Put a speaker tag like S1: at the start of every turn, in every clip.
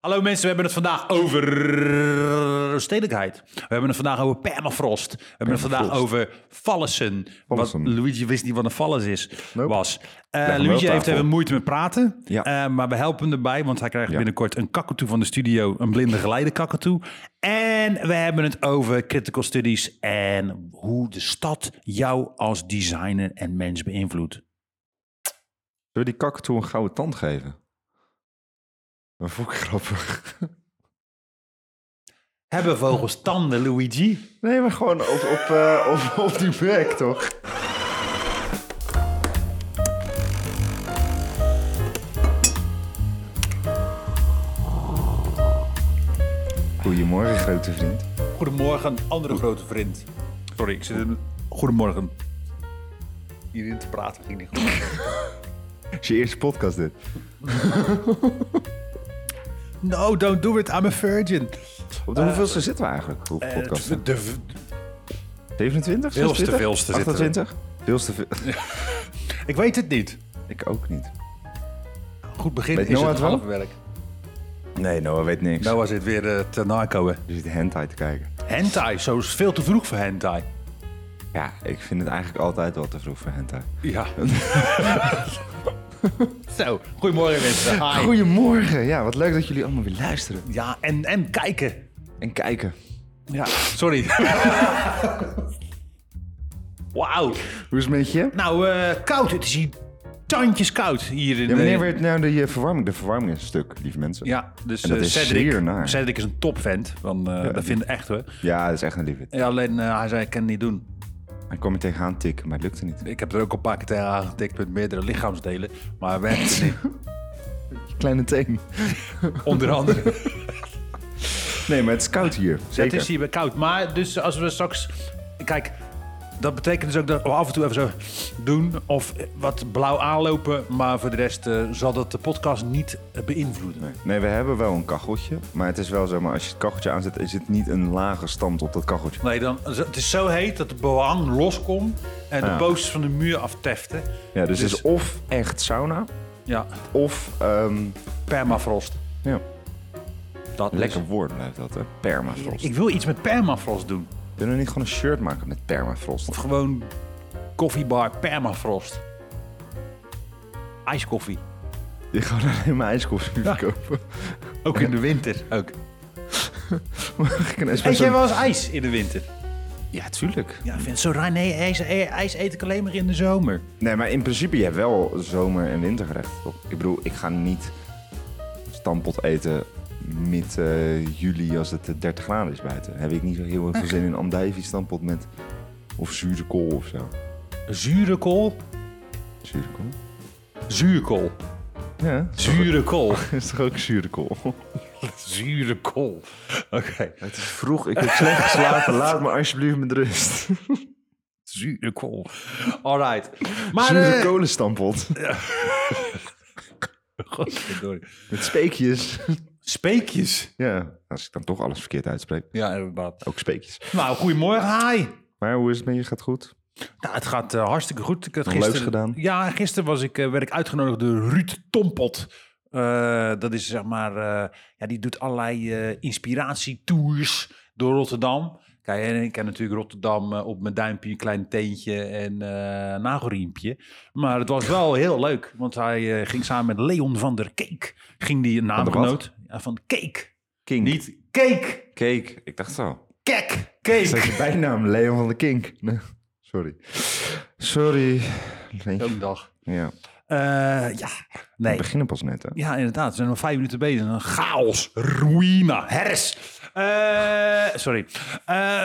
S1: Hallo mensen, we hebben het vandaag over stedelijkheid. We hebben het vandaag over permafrost. We hebben het vandaag over vallessen. Wat
S2: Vallessen.
S1: Luigi wist niet wat een valles is,
S2: Nope.
S1: was. Eh,
S2: hem wel op
S1: Luigi heeft
S2: tafel.
S1: even moeite met praten,
S2: Ja.
S1: Eh, maar we helpen hem erbij, want hij krijgt
S2: Ja.
S1: binnenkort een kakatoe van de studio, een blinde geleide kakatoe. En we hebben het over critical studies en hoe de stad jou als designer en mens beïnvloedt.
S2: Zullen we die kakatoe een gouden tand geven? Dat vond ik grappig.
S1: Hebben vogels tanden, Luigi?
S2: Nee, maar gewoon op, op, eh, op, op die bek, toch? Goedemorgen, grote vriend.
S1: Goedemorgen, andere grote vriend. Sorry, ik zit in... Goedemorgen. Hierin te praten ging niet goed.
S2: Is je eerste podcast dit?
S1: No, don't do it, I'm a virgin.
S2: Op de hoeveelste zitten we eigenlijk? Hoeveel podcasts?
S1: De, de-
S2: 27?
S1: Veelste,
S2: 26?
S1: veelste zitten we.
S2: 28? Veelste veel-
S1: ik weet het niet.
S2: Ik ook niet.
S1: Goed begin
S2: Weet
S1: is
S2: Noah
S1: het
S2: het wel?
S1: halfwerk.
S2: Nee, Noah weet niks.
S1: Nou was het weer eh, te nakomen.
S2: Je zit hentai te kijken.
S1: Hentai, zo is veel te vroeg voor hentai.
S2: Ja, ik vind het eigenlijk altijd wel te vroeg voor hentai.
S1: Ja. zo, goedemorgen mensen. Hi.
S2: Goedemorgen. Ja, wat leuk dat jullie allemaal weer luisteren.
S1: Ja, en, en kijken.
S2: En kijken.
S1: Ja, sorry. Wauw.
S2: Hoe is het met je?
S1: Nou, eh, koud. Het is hier tandjes koud hier in
S2: Ja, wanneer
S1: eh,
S2: werd nou de eh, verwarming? De verwarming is een stuk, lieve mensen.
S1: Ja, dus
S2: En dat
S1: eh,
S2: is
S1: Cedric,
S2: zeer naar.
S1: Cedric is een topvent. Want, eh, dat vind ik echt hoor.
S2: Ja, dat is echt een liefde.
S1: Ja, alleen eh, hij zei, ik kan het niet doen.
S2: Hij kwam je tegenaan tikken, maar het lukte niet.
S1: Ik heb er ook een paar keer tegen aangetikt met meerdere lichaamsdelen. Maar hij werkte niet.
S2: Kleine teen.
S1: Onder andere.
S2: Nee, maar het is koud hier.
S1: het
S2: Zeker.
S1: is hier weer koud. Maar dus als we straks... Kijk, dat betekent dus ook dat we af en toe even zo doen. Of wat blauw aanlopen. Maar voor de rest eh, zal dat de podcast niet eh, beïnvloeden.
S2: Nee. Nee, we hebben wel een kacheltje. Maar het is wel zo, maar als je het kacheltje aanzet, is het niet een lage stand op dat kacheltje.
S1: Nee, dan, het is zo heet dat de behang loskomt en de
S2: Ja.
S1: posters van de muur afteften.
S2: Ja, dus, het is of echt sauna,
S1: Ja,
S2: of... ehm,
S1: permafrost.
S2: ja.
S1: Dat is-
S2: Lekker woord blijft dat, hè? Permafrost.
S1: Ik wil iets met permafrost doen.
S2: Kunnen we niet gewoon een shirt maken met permafrost?
S1: Of gewoon koffiebar permafrost. IJskoffie.
S2: Je gaat alleen maar ijskoffie verkopen.
S1: Ook in de winter. Ook.
S2: Mag ik een
S1: Eet
S2: espresso?
S1: jij wel eens ijs in de winter?
S2: Ja, tuurlijk.
S1: Ja, ik vind het zo raar. Nee, ijs, e, ijs eet ik alleen maar in de zomer.
S2: Nee, maar in principe, je hebt wel zomer- en wintergerechten, toch? Ik bedoel, ik ga niet stampot eten mid eh, juli als het eh, 30 graden is buiten. Heb ik niet zo heel veel zin in andijvie stampot met... Of zure kool of zo.
S1: Zure kool?
S2: Zure kool?
S1: Zuurkool.
S2: Ja.
S1: Zure kool.
S2: Is toch ook zure kool?
S1: Zure kool. Oké.
S2: Het is vroeg, ik heb slecht geslapen. Laat me alsjeblieft met rust.
S1: Zure kool. All right. Maar...
S2: Zure
S1: eh,
S2: kolenstampot.
S1: Godverdorie.
S2: Met speekjes.
S1: Speekjes.
S2: Ja, als ik dan toch alles verkeerd uitspreek.
S1: Ja, inderdaad.
S2: Ook speekjes.
S1: Nou, goedemorgen. Hi.
S2: Maar hoe is het met je? Gaat goed?
S1: Nou, het gaat eh, hartstikke goed. Ik had
S2: Nog
S1: gisteren,
S2: leuks gedaan?
S1: Ja, gisteren was ik, eh, werd ik uitgenodigd door Ruud Tompot. Eh, dat is zeg maar, eh, ja, die doet allerlei eh, inspiratietours door Rotterdam. Kijk, en ik ken natuurlijk Rotterdam eh, op mijn duimpje, een klein teentje en eh nagelriempje. Maar het was wel heel leuk, want hij eh, ging samen met Leon van der Keek. Ging die een
S2: Van de wat?
S1: naamgenoot ja, van Keek.
S2: King.
S1: Niet Keek,
S2: Cake. Ik dacht zo.
S1: Kek,
S2: Is dat
S1: Keek.
S2: je bijnaam? Leon van de Kink. Nee, sorry. Sorry. Nee.
S1: Zo'n dag.
S2: Ja.
S1: Eh, ja,
S2: We
S1: nee.
S2: beginnen pas net, hè?
S1: Ja, inderdaad. We zijn nog vijf minuten bezig. Een chaos, ruïna, hers. Eh, sorry. Eh,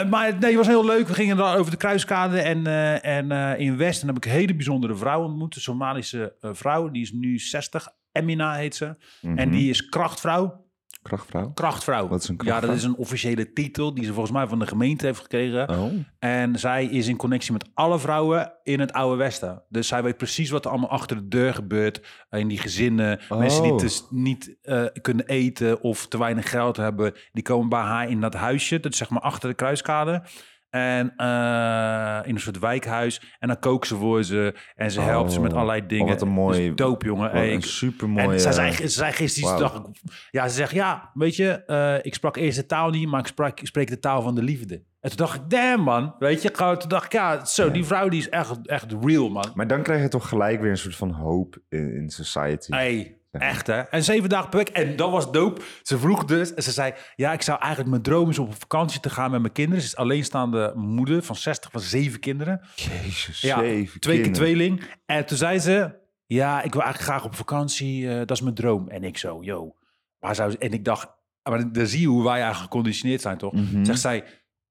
S1: maar nee, het was heel leuk. We gingen daar over de Kruiskade en, eh, en eh, in West. En dan heb ik een hele bijzondere vrouw ontmoet. Een Somalische eh, vrouw. Die is nu 60. Emina heet ze. En die is krachtvrouw.
S2: Krachtvrouw?
S1: Krachtvrouw.
S2: Mhm. Wat is een
S1: Ja, dat
S2: krachtvrouw?
S1: is een officiële titel die ze volgens mij van de gemeente heeft gekregen.
S2: Oh.
S1: En zij is in connectie met alle vrouwen in het Oude Westen. Dus zij weet precies wat er allemaal achter de deur gebeurt. In die gezinnen.
S2: Oh.
S1: Mensen die dus niet eh, kunnen eten of te weinig geld hebben. Die komen bij haar in dat huisje. Dat is zeg maar achter de kruiskade. En eh, in een soort wijkhuis. En dan kookt ze voor ze. En ze
S2: Oh.
S1: helpt ze met allerlei dingen.
S2: wat een mooie-
S1: Dus doop, jongen.
S2: Wat
S1: Hey,
S2: een
S1: ik-
S2: supermooie... eh,
S1: en zij zei, ze zei gisteren iets,
S2: Wauw.
S1: dacht ik, ja, ze zegt, ja, weet je, eh, ik sprak eerst de taal niet, maar ik, sprak, ik spreek de taal van de liefde. En toen dacht ik, damn man, weet je, gewoon, toen dacht ik, ja, zo, die vrouw die is echt, echt real man.
S2: Maar dan krijg je toch gelijk weer een soort van hoop in, in society.
S1: Hey, echt hè. En zeven dagen per week, en dat was dope. Ze vroeg dus, en ze zei, ja, ik zou eigenlijk, mijn droom is om op vakantie te gaan met mijn kinderen. Ze is alleenstaande moeder van 60, van zeven kinderen.
S2: Jezus,
S1: Ja,
S2: zeven
S1: twee keer
S2: kinderen.
S1: tweeling. En toen zei ze, ja, ik wil eigenlijk graag op vakantie. eh, dat is mijn droom. En ik zo, yo. Waar zou ze- En ik dacht, maar dan zie je hoe wij eigenlijk geconditioneerd zijn, toch?
S2: Mhm.
S1: Zegt zij,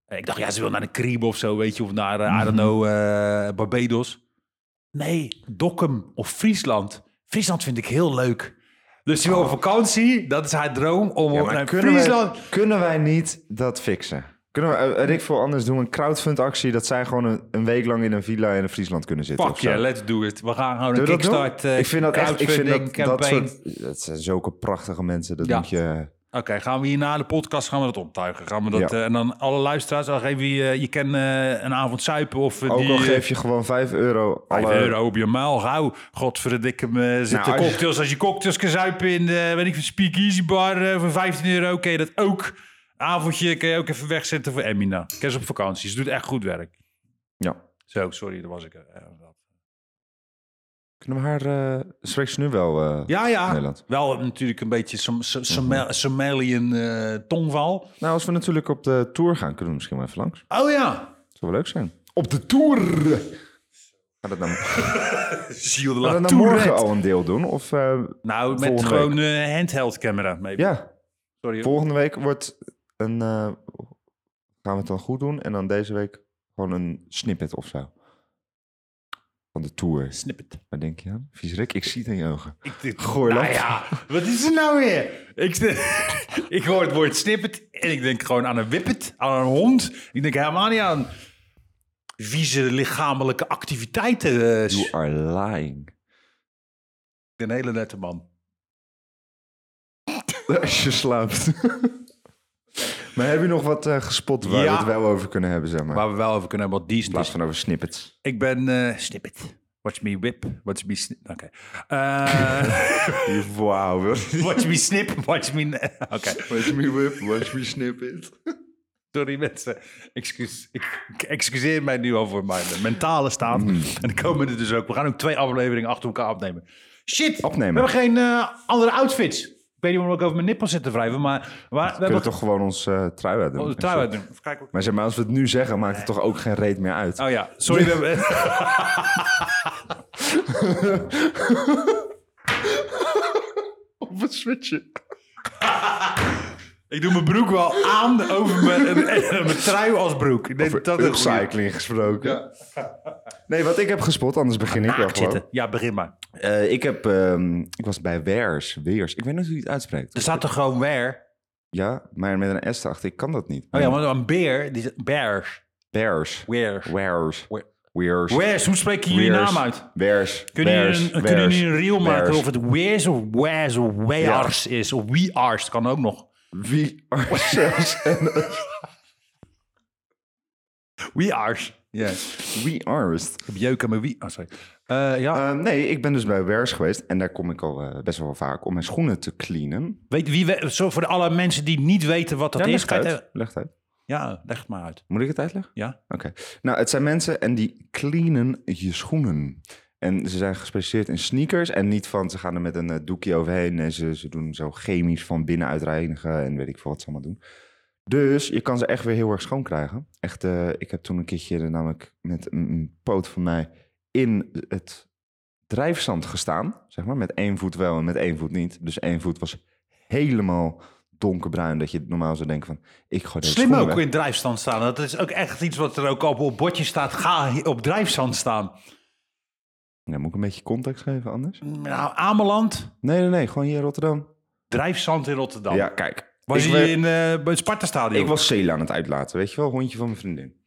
S1: eh, ik dacht, ja, ze wil naar de Cariben of zo, weet je. Of naar, eh, I
S2: Mhm.
S1: don't know, eh, Barbados. Nee, Dokkum of Friesland. Friesland vind ik heel leuk. Dus ze wil op vakantie, dat is haar droom, om
S2: Oh. Ja,
S1: op
S2: maar
S1: naar
S2: kunnen,
S1: Friesland...
S2: Wij, kunnen wij niet dat fixen? Kunnen we, eh, Rick veel anders doen, een crowdfundactie... dat zij gewoon een, een week lang in een villa in Friesland kunnen zitten?
S1: Fuck
S2: of zo?
S1: yeah, let's do it. We gaan gewoon een
S2: Zullen we dat doen?
S1: kickstart eh
S2: ik vind dat echt, ik vind dat,
S1: crowdfunding
S2: dat,
S1: campaign.
S2: soort, dat zijn zulke prachtige mensen. Dat
S1: Ja.
S2: moet je...
S1: Oké, gaan we hier na de podcast gaan we dat optuigen. Gaan we dat,
S2: Ja.
S1: eh, en dan alle luisteraars, dan geven we je, je kan eh, een avond zuipen of eh,
S2: Ook
S1: die,
S2: al
S1: eh,
S2: geef je gewoon 5 euro.
S1: vijf
S2: alle- Nou,
S1: euro op je muil, gauw. Godverdikke me, zitten
S2: als je-
S1: cocktails. Als je cocktails kan zuipen in, eh weet ik veel, Speakeasy Bar eh, voor 15 euro, kun je dat ook. Avondje kun je ook even wegzetten voor Emina. Kers op vakantie, ze doet echt goed werk.
S2: Ja.
S1: Zo, sorry, daar was ik. eh, dat.
S2: Kunnen we haar... eh spreekt ze nu wel eh,
S1: ja, ja.
S2: Nederland?
S1: Wel natuurlijk een beetje Som- Som- Somal- Somalian eh, tongval.
S2: Nou, als we natuurlijk op de tour gaan, kunnen we misschien wel even langs.
S1: Oh ja.
S2: Zou wel leuk zijn. Op de tour! Gaat dat nou,
S1: Ziel de
S2: gaat
S1: La
S2: dat nou morgen
S1: Tourette.
S2: al een deel doen? Of eh,
S1: Nou, met
S2: Volgende
S1: gewoon eh, handheld camera. Maybe.
S2: ja,
S1: Sorry.
S2: volgende week wordt een... eh, gaan we het dan goed doen? En dan deze week gewoon een snippet of zo. Van de tour.
S1: Snippet.
S2: Waar denk je aan? Vies Rick, ik zie het in je ogen.
S1: Ik, ik,
S2: Gooi
S1: nou
S2: lamp.
S1: ja, wat is er nou weer? Ik, ik hoor het woord snippet en ik denk gewoon aan een wippet, aan een hond. Ik denk helemaal niet aan vieze lichamelijke activiteiten. eh, s-
S2: You are lying.
S1: Ik ben een hele nette man.
S2: Als je slaapt. maar heb je nog wat eh, gespot waar
S1: Ja.
S2: we het wel over kunnen hebben, zeg maar?
S1: Waar we wel over kunnen hebben wat
S2: In
S1: decent
S2: plaats
S1: is.
S2: van over snippets.
S1: Ik ben eh, snippet. Watch me whip, watch me snip. Oké. Eh,
S2: Wauw.
S1: watch me snip, watch me... ne- Oké.
S2: Watch me whip, watch me snippet.
S1: Sorry mensen, Excuus, ik, ik excuseer mij nu al voor mijn mentale staat.
S2: Hmm.
S1: En de komende dus ook. We gaan ook twee afleveringen achter elkaar opnemen. Shit,
S2: Opnemen.
S1: we hebben geen eh, andere outfits. Ik weet niet waarom ik over mijn nippel zit te wrijven, maar waar, we
S2: We
S1: hebben
S2: kunnen toch gewoon ons eh, trui uit doen?
S1: gewoon de trui uit doen. Even kijken wat-
S2: Maar zeg maar, als we het nu zeggen, maakt het toch ook geen reet meer uit?
S1: Oh ja, sorry. We hebben...
S2: Op het switchen.
S1: ik doe mijn broek wel aan over mijn, en- en mijn trui als broek. Ik denk
S2: Over
S1: dat
S2: dat
S1: het
S2: upcycling gesproken. Nee, wat ik heb gespot, anders begin ik wel
S1: Naakt
S2: gewoon.
S1: zitten. Ja, begin maar.
S2: Eh, ik, heb, ehm, ik was bij Weers. Weers. Ik weet niet hoe je het uitspreekt.
S1: Er staat er gewoon where.
S2: Ja, maar met een S erachter. Ik kan dat niet.
S1: Oh ja, want een beer, die bears.
S2: Bears.
S1: Where.
S2: Wears.
S1: Where.
S2: Wears.
S1: Where's, hoe spreek je je naam uit?
S2: Wears.
S1: Kunnen
S2: Wears.
S1: jullie een, kunnen
S2: Wears.
S1: jullie een reel maken
S2: Wears.
S1: of het wears of where's of where's is? Of we are's kan ook nog.
S2: Wie are zelfs en
S1: We are's. Ja.
S2: wie are's.
S1: Ik heb jeuk aan mijn wie. Oh, sorry. Eh, ja.
S2: Eh, nee, ik ben dus bij Wears geweest en daar kom ik al eh, best wel vaak om mijn schoenen te cleanen.
S1: Weet wie we, zo voor alle mensen die niet weten wat dat is.
S2: Ja, leg
S1: kan
S2: het
S1: je-
S2: uit. Leg het uit.
S1: Ja, leg het maar uit.
S2: Moet ik het uitleggen?
S1: Ja.
S2: Oké. Nou, het zijn mensen en die cleanen je schoenen. En ze zijn gespecialiseerd in sneakers en niet van ze gaan er met een eh, doekje overheen en ze, ze doen zo chemisch van binnenuit reinigen en weet ik veel wat ze allemaal doen. Dus je kan ze echt weer heel erg schoon krijgen. Echt, eh, ik heb toen een keertje er namelijk met een, een poot van mij in het drijfzand gestaan. Zeg maar, met één voet wel en met één voet niet. Dus één voet was helemaal donkerbruin. Dat je normaal zou denken van, ik gooi deze
S1: Slim
S2: schoenen
S1: ook
S2: weg.
S1: in drijfstand staan. Dat is ook echt iets wat er ook op, op bordje staat. Ga hi- op drijfstand staan.
S2: Nou, moet ik een beetje context geven anders?
S1: Nou, Ameland,
S2: Nee, nee, nee. Gewoon hier in Rotterdam.
S1: drijfstand in Rotterdam.
S2: Ja, kijk.
S1: Was
S2: ik,
S1: je
S2: we-
S1: in, eh, bij het Sparta Stadion?
S2: ik was Cela aan het uitlaten, weet je wel? Hondje van mijn vriendin.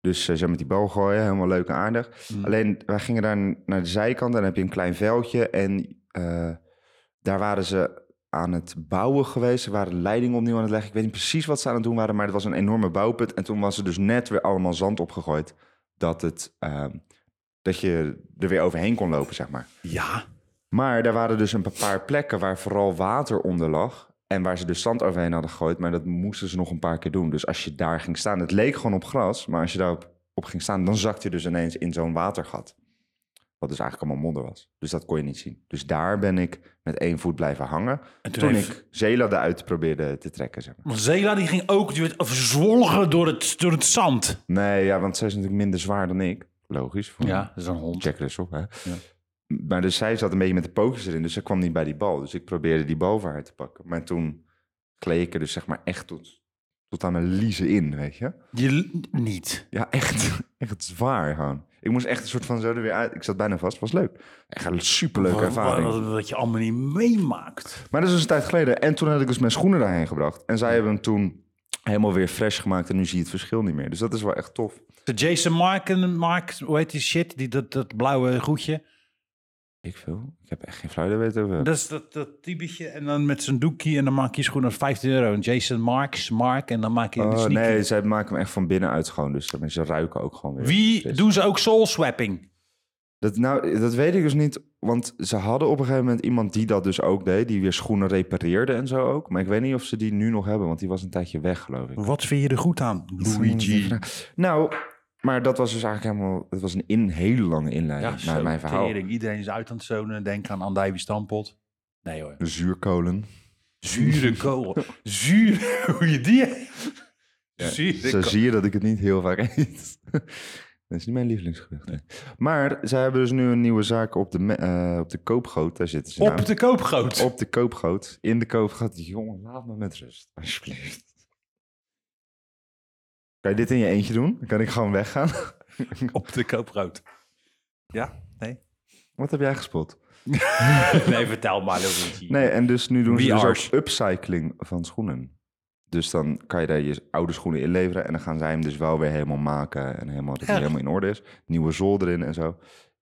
S2: Dus eh, zij met die bal gooien, helemaal leuk en aardig. Alleen, wij gingen daar naar de zijkant en dan heb je een klein veldje. En eh, daar waren ze aan het bouwen geweest. Ze waren leidingen opnieuw aan het leggen. Ik weet niet precies wat ze aan het doen waren, maar het was een enorme bouwput. En toen was er dus net weer allemaal zand opgegooid. Dat, het, eh, dat je er weer overheen kon lopen, zeg maar.
S1: Ja.
S2: Maar daar waren dus een paar plekken waar vooral water onder lag. En waar ze dus zand overheen hadden gegooid. Maar dat moesten ze nog een paar keer doen. Dus als je daar ging staan, het leek gewoon op gras. Maar als je daarop op ging staan, dan zakte je dus ineens in zo'n watergat. Wat dus eigenlijk allemaal modder was. Dus dat kon je niet zien. Dus daar ben ik met één voet blijven hangen.
S1: En toen
S2: toen
S1: heeft-
S2: ik Zela eruit probeerde te trekken. Zeg maar.
S1: Want Zela die ging ook, die werd verzwolgen door het, door het zand.
S2: Nee, ja, want zij is natuurlijk minder zwaar dan ik. Logisch. Voor
S1: Ja, dat is een hond.
S2: Jack Russell, hè? Maar dus zij zat een beetje met de pookjes erin, dus ze kwam niet bij die bal. Dus ik probeerde die bal voor haar te pakken. Maar toen gleed ik er dus zeg maar echt tot, tot aan mijn liezen in, weet je?
S1: Je l- niet.
S2: Ja, echt, echt zwaar gewoon. Ik moest echt een soort van zo er weer uit. Ik zat bijna vast, was leuk. Echt een superleuke ervaring.
S1: Wat, wat- wat je allemaal niet meemaakt.
S2: Maar dat is dus een tijd geleden. En toen had ik dus mijn schoenen daarheen gebracht. En zij hebben hem toen helemaal weer fresh gemaakt en nu zie je het verschil niet meer. Dus dat is wel echt tof.
S1: De Jason Mark en Mark, hoe heet die shit? Die, dat, dat blauwe goedje.
S2: Ik veel. Ik heb echt geen fluide weten over.
S1: Dat is dat, dat typetje. En dan met zijn doekje. En dan maak je schoenen 15 euro. En Jason Marks, Mark. En dan maak je een
S2: Oh,
S1: sneaker.
S2: nee, zij maken hem echt van binnenuit schoon. Dus dat mensen ruiken ook gewoon weer.
S1: Wie doen ze ook soul swapping?
S2: Dat, nou, dat weet ik dus niet. Want ze hadden op een gegeven moment iemand die dat dus ook deed. Die weer schoenen repareerde en zo ook. Maar ik weet niet of ze die nu nog hebben. Want die was een tijdje weg, geloof ik.
S1: Wat vind je er goed aan, Luigi?
S2: Nou, maar dat was dus eigenlijk helemaal... Het was een in, hele lange
S1: nou,
S2: inleiding naar mijn verhaal.
S1: tering. Iedereen is uit aan het zonen. Denk aan Andijvie Stampot. Nee hoor.
S2: Zuurkolen.
S1: Zure kool. Zure, hoe je die... Zure
S2: Zo
S1: kool.
S2: zie je dat ik het niet heel vaak eet. Dat is niet mijn lievelingsgerecht. Maar zij hebben dus nu een nieuwe zaak op de, me- eh, op de koopgoot. Daar zitten ze nou.
S1: Op de koopgoot.
S2: Op de koopgoot. In de koopgoot. Jongen, laat me met rust. Alsjeblieft. Kan je dit in je eentje doen? Dan kan ik gewoon weggaan.
S1: Op de koopgoot. Ja? Nee?
S2: Wat heb jij gespot?
S1: Nee, vertel maar, Luigi.
S2: Nee, en dus nu doen
S1: We
S2: ze dus
S1: are-
S2: ook upcycling van schoenen. Dus dan kan je daar je oude schoenen inleveren. En dan gaan zij hem dus wel weer helemaal maken. En helemaal, dat hij
S1: Echt?
S2: helemaal in orde is. Nieuwe zool erin en zo.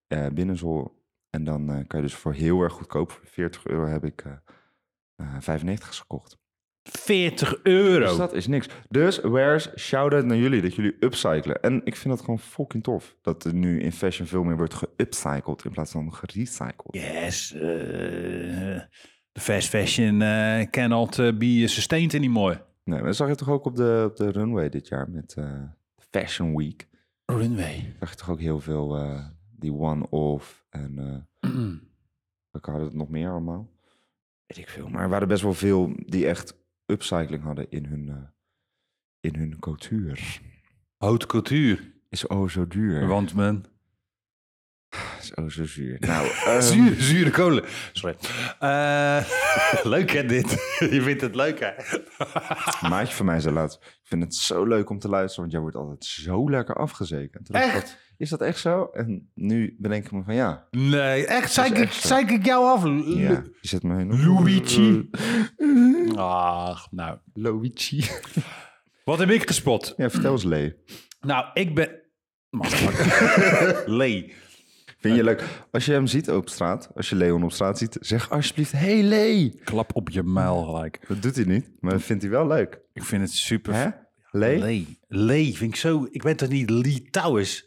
S2: Eh binnenzool. En dan eh, kan je dus voor heel erg goedkoop. voor 40 euro heb ik eh eh 95 gekocht.
S1: 40 euro.
S2: Dus dat is niks. Dus Wares, shout-out naar jullie dat jullie upcyclen. En ik vind dat gewoon fucking tof. Dat er nu in fashion veel meer wordt geupcycled in plaats van gerecycled.
S1: Yes. eh, De fast fashion eh, cannot eh, be sustained anymore.
S2: Nee, maar dat zag je toch ook op de, op de runway dit jaar met eh, Fashion Week.
S1: Runway.
S2: Zag je toch ook heel veel eh, die one-off en eh we hadden het nog meer allemaal. Weet ik veel. Maar er waren best wel veel die echt upcycling hadden in hun, eh, in hun cultuur.
S1: Haute cultuur.
S2: Is oh zo duur.
S1: Want men...
S2: Is oh zo zuur. Nou, eh,
S1: Zuur, zure kolen. Sorry. Eh, leuk hè dit? Je vindt het leuk hè?
S2: Een maatje van mij zei laatst, ik vind het zo leuk om te luisteren, want jij wordt altijd zo lekker afgezeken. En toen dacht ik,
S1: Echt?
S2: "Wat, is dat echt zo? En nu bedenk ik me van ja.
S1: Nee, echt? Zeik
S2: Dat is
S1: ik,
S2: echt zo.
S1: zeik ik jou af?
S2: ja. Je zet me Eh, heen.
S1: Luigi. Ach, nou.
S2: Luigi.
S1: Wat heb ik gespot?
S2: Ja, vertel eens Lee.
S1: Nou, ik ben... Lee.
S2: Vind je leuk? Als je hem ziet op straat, als je Leon op straat ziet, zeg alsjeblieft, hey Lee.
S1: Klap op je muil gelijk.
S2: Dat doet hij niet, maar dat vindt hij wel leuk.
S1: Ik vind het super...
S2: Hè? Lee?
S1: Lee. Lee vind ik zo... Ik weet toch niet Lee Towers?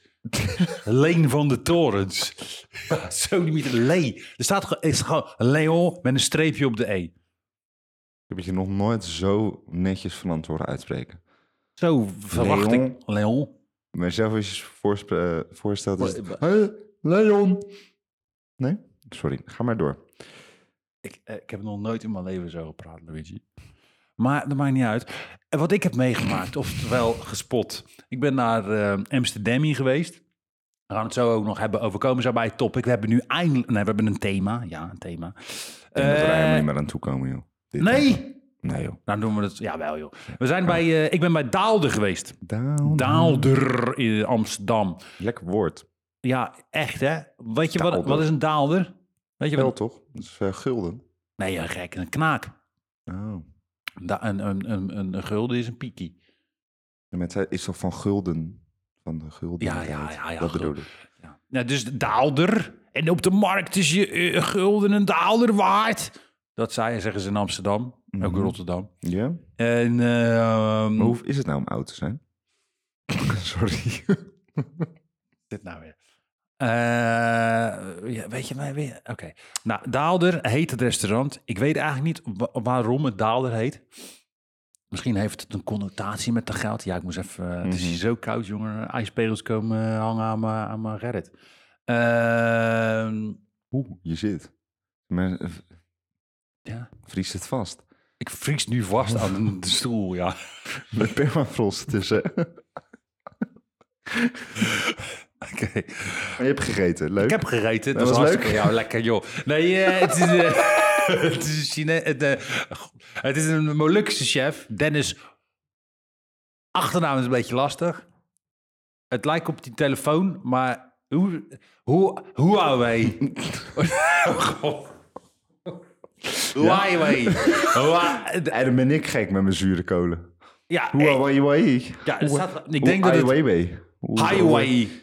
S1: Leen van de Torens. zo niet Lee. Er staat gewoon- is gewoon Leon met een streepje op de E.
S2: Ik heb het je nog nooit zo netjes van antwoorden uitspreken.
S1: Zo verwacht
S2: Leon.
S1: ik. Leon.
S2: Maar zelf als je je voorspre- eh, voorstelt, is het,
S1: Wa-
S2: hey Leon. Nee? Sorry, ga maar door.
S1: Ik, eh, ik heb nog nooit in mijn leven zo gepraat, Luigi. Maar dat maakt niet uit. En wat ik heb meegemaakt, oftewel gespot. Ik ben naar eh, Amsterdam geweest. We gaan het zo ook nog hebben over komensarbeid topic. We hebben nu eindelijk... Nee, we hebben een thema. Ja, een thema.
S2: Ik denk dat we
S1: Eh,
S2: daar helemaal niet meer aan toe komen, joh. Dit-
S1: nee!
S2: Nee, joh.
S1: Nou doen we dat... Jawel, joh. We zijn bij... eh, ik ben bij Daalder geweest.
S2: Down.
S1: Daalder in Amsterdam.
S2: Lekker woord.
S1: Ja, echt, hè? Weet je wat,
S2: Daalder.
S1: wat is een Daalder? Weet je
S2: Wel
S1: wat...
S2: toch? Dat is eh, gulden.
S1: Nee, ja, gek. Een knaak.
S2: Oh.
S1: Da- een, een, een, een, een gulden is een piekie.
S2: En met, is toch van gulden? Van de gulden.
S1: Ja, ja, ja, ja,
S2: Dat
S1: gul-
S2: bedoel ik.
S1: Ja. Nou, dus de daalder. En op de markt is je eh, gulden een daalder waard. Dat zei zeggen ze in Amsterdam, ook
S2: Mhm.
S1: in Rotterdam.
S2: Ja?
S1: En ehm,
S2: Maar hoe is het nou om oud te zijn? Sorry.
S1: dit nou weer? Eh, ja, weet je mij weer? Oké. Nou, Daalder heet het restaurant. Ik weet eigenlijk niet wa- waarom het Daalder heet. Misschien heeft het een connotatie met dat geld. Ja, ik moest even... eh, Het is
S2: Mhm.
S1: hier zo koud, jongen. IJspegels komen eh, hangen aan mijn- aan mijn Reddit. Ehm,
S2: Oeh, je zit. Maar eh,
S1: ja.
S2: vries het vast.
S1: Ik vries nu vast aan de stoel, ja.
S2: Met permafrost tussen.
S1: Oké.
S2: Maar je hebt gegeten, leuk.
S1: Ik heb gereten.
S2: Dat
S1: Dat, was
S2: was
S1: hartstikke Ja, lekker joh. Nee, eh, het is, eh, het is een Chine... Het, eh, goh, het is een Molukse chef. Dennis. Achternaam is een beetje lastig. Het lijkt op die telefoon, maar hoe... Hoe... Huawei. Oh, God. Huawei. Hua-
S2: En dan ben ik gek met mijn zure kolen.
S1: Ja,
S2: Hoe eh,
S1: ik,
S2: Huawei.
S1: ja, het staat- ik denk dat het...
S2: Huawei.
S1: Highway. I